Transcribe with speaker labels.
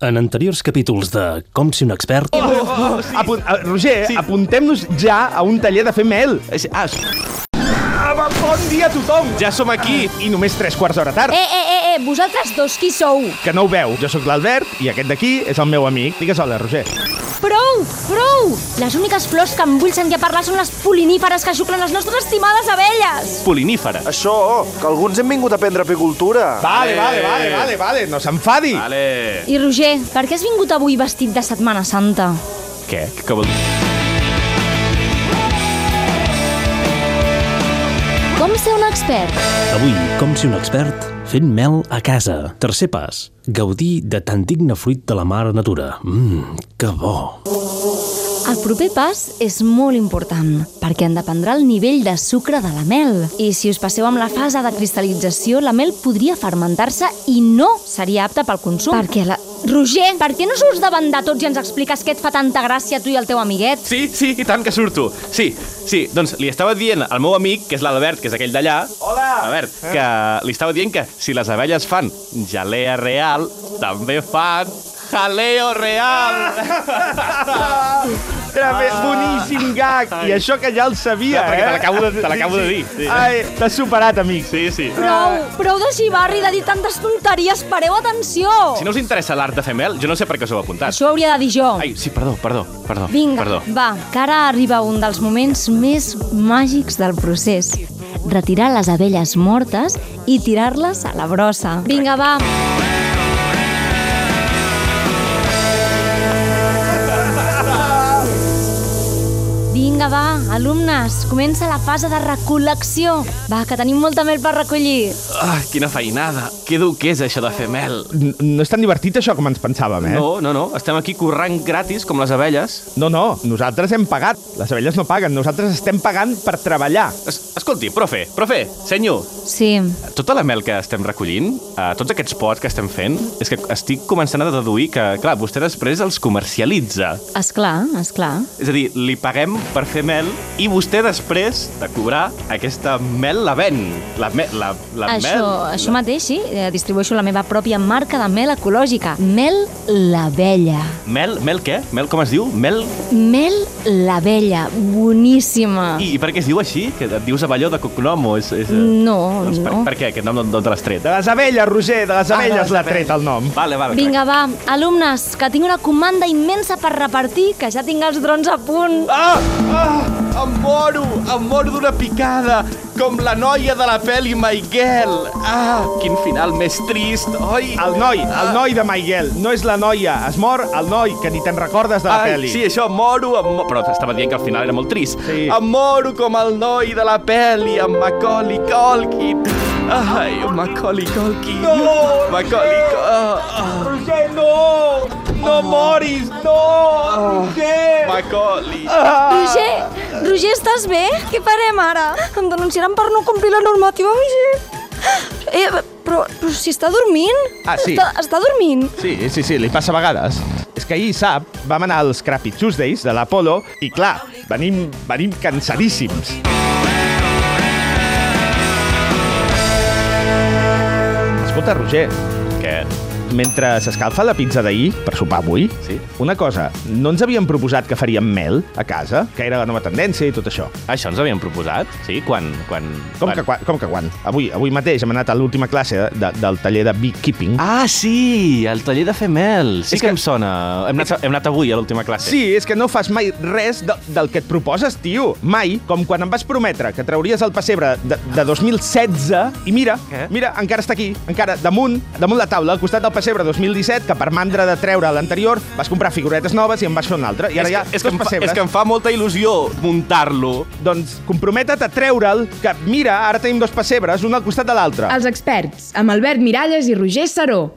Speaker 1: En anteriors capítols de Com si un expert...
Speaker 2: Oh, oh, sí. Apu a, Roger, sí. apuntem-nos ja a un taller de fer mel. Ah, s- Ah, bon dia a tothom! Ja som aquí i només tres quarts d'hora tard.
Speaker 3: Eh, eh, eh, eh, vosaltres dos qui sou?
Speaker 2: Que no ho veu. Jo sóc l'Albert i aquest d'aquí és el meu amic. Digues hola, Roger.
Speaker 3: Prou, prou! Les úniques flors que em vull sentir a parlar són les poliníferes que xuclen les nostres estimades abelles.
Speaker 2: Polinífera.
Speaker 4: Això, que alguns hem vingut a aprendre apicultura.
Speaker 2: Vale, vale, vale, vale, vale. No s'enfadi. Vale.
Speaker 3: I Roger, per què has vingut avui vestit de Setmana Santa?
Speaker 2: Què?
Speaker 3: Com ser un expert?
Speaker 1: Avui, Com si un expert, fent mel a casa. Tercer pas, gaudir de tan digne fruit de la mare natura. Mmm, que bo.
Speaker 3: El proper pas és molt important, perquè en dependrà el nivell de sucre de la mel. I si us passeu amb la fase de cristal·lització, la mel podria fermentar-se i no seria apta pel consum. Perquè la... Roger, per què no surts davant de tots i ens expliques què et fa tanta gràcia a tu i al teu amiguet?
Speaker 5: Sí, sí, i tant que surto. Sí, sí, doncs li estava dient al meu amic, que és l'Albert, que és aquell d'allà... Hola! Eh? Albert, que li estava dient que si les abelles fan gelea real, també fan jaleo real!
Speaker 2: Era ah. boníssim gag. I això que ja el sabia,
Speaker 5: Ja, perquè
Speaker 2: eh?
Speaker 5: te l'acabo de- te l'acabo de dir. Sí.
Speaker 2: Ai, t'has superat, amic.
Speaker 5: Sí, sí.
Speaker 3: Prou, prou de xivarri, de dir tantes tonteries, pareu atenció!
Speaker 5: Si no us interessa l'art de fer mel, jo no sé per què us heu apuntat.
Speaker 3: Això ho hauria de dir jo.
Speaker 5: Ai, sí, perdó, perdó, perdó.
Speaker 3: Vinga,
Speaker 5: Perdó.
Speaker 3: va, que ara arriba un dels moments més màgics del procés. Retirar les abelles mortes i tirar-les a la brossa. Vinga, va. Vinga, va, alumnes, comença la fase de recol·lecció. Va, que tenim molta mel per recollir.
Speaker 5: Ai, Ah, quina feinada. Que dur que és això de fer mel.
Speaker 2: N- No és tan divertit això com ens pensàvem, eh?
Speaker 5: No, no, no. Estem aquí currant gratis, com les abelles.
Speaker 2: No, no, nosaltres hem pagat. Les abelles no paguen, nosaltres estem pagant per treballar.
Speaker 5: Es Escolti, profe, profe, senyor,
Speaker 3: Sí,
Speaker 5: Tota la mel que estem recollint, eh, tots aquests pots que estem fent, és que estic començant a deduir que, clar, vostè després els comercialitza.
Speaker 3: és clar, és clar.
Speaker 5: És a dir, li paguem per fer mel i vostè després de cobrar aquesta mel la ven. La, me, la, la
Speaker 3: Això,
Speaker 5: mel...
Speaker 3: això mateix, sí. Eh, Distribueixo la meva pròpia marca de mel ecològica. Mel l'abella.
Speaker 5: Mel, mel què? Mel, com es diu? Mel...
Speaker 3: Mel l'abella. Boníssima.
Speaker 5: I, I per què es diu així? Que et dius Avelló de cognom o és... és eh,
Speaker 3: No,
Speaker 5: doncs per,
Speaker 3: Mm, no. Ah,
Speaker 5: Per què? Aquest nom d'on te l'has tret?
Speaker 2: De les abelles, Roger, de Ah, les abelles
Speaker 5: les
Speaker 2: l'ha
Speaker 5: abelles.
Speaker 2: tret el nom.
Speaker 5: Vale, vale.
Speaker 3: Vinga, va, alumnes, que tinc una comanda immensa per repartir, que ja tinc els drons a punt.
Speaker 5: Ah! Ah! Em moro! Em moro d'una picada! Com la noia de la pel·li Michael! Ah! Quin final més trist, oi?
Speaker 2: El noi,
Speaker 5: Ah.
Speaker 2: el noi de Miguel, no és la noia, es mor el noi, que ni te'n recordes de la
Speaker 5: Ai,
Speaker 2: pel·li.
Speaker 5: sí, això, em moro, em moro... Però estava dient que al final era molt trist.
Speaker 2: Sí.
Speaker 5: Em moro com el noi de la pel·li, amb Macaulay Culkin. Ai, Macaulay Culkin. No! Macaulay Culkin.
Speaker 2: Roger, no! No moris, no!
Speaker 5: Ah.
Speaker 2: Roger!
Speaker 5: Macaulay.
Speaker 3: Roger, Roger, estàs bé? Què farem ara? Em denunciaran per no complir la normativa, Roger. Eh, però, però si està dormint?
Speaker 2: Ah, sí.
Speaker 3: Està, està dormint?
Speaker 2: Sí, sí, sí, li passa a vegades. És que ahir, sap, vam anar als Crappy Tuesdays de l'Apolo i, clar, venim, venim cansadíssims. Escolta, Roger,
Speaker 5: Què?
Speaker 2: mentre s'escalfa la pizza d'ahir, per sopar avui,
Speaker 5: Sí.
Speaker 2: una cosa, no ens havien proposat que faríem mel a casa, que era la nova tendència i tot això.
Speaker 5: Això ens havíem proposat? Sí, quan... quan
Speaker 2: Com, que, quan- com que quan? Avui, avui mateix hem anat a l'última classe de, del taller de beekeeping.
Speaker 5: Ah, sí, el taller de fer mel. Sí
Speaker 2: És
Speaker 5: que,
Speaker 2: que-
Speaker 5: em sona. Hem anat, hem anat avui a l'última classe.
Speaker 2: Sí, és que no fas mai res de, del que et proposes, tio. Mai. Com quan em vas prometre que trauries el pessebre de, de 2016 i mira,
Speaker 5: Què?
Speaker 2: mira, encara està aquí. Encara, damunt, damunt la taula, al costat del pessebre 2017, que per mandra de treure l'anterior vas comprar figuretes noves i en vas fer un altre. I
Speaker 5: És,
Speaker 2: ara
Speaker 5: que,
Speaker 2: ja
Speaker 5: és, que
Speaker 2: dos
Speaker 5: em fa,
Speaker 2: pessebres.
Speaker 5: és que em fa molta il·lusió muntar-lo.
Speaker 2: Doncs compromete't a treure'l, que mira, ara tenim dos pessebres, un al costat de l'altre.
Speaker 6: Els experts, amb Albert Miralles i Roger Saró.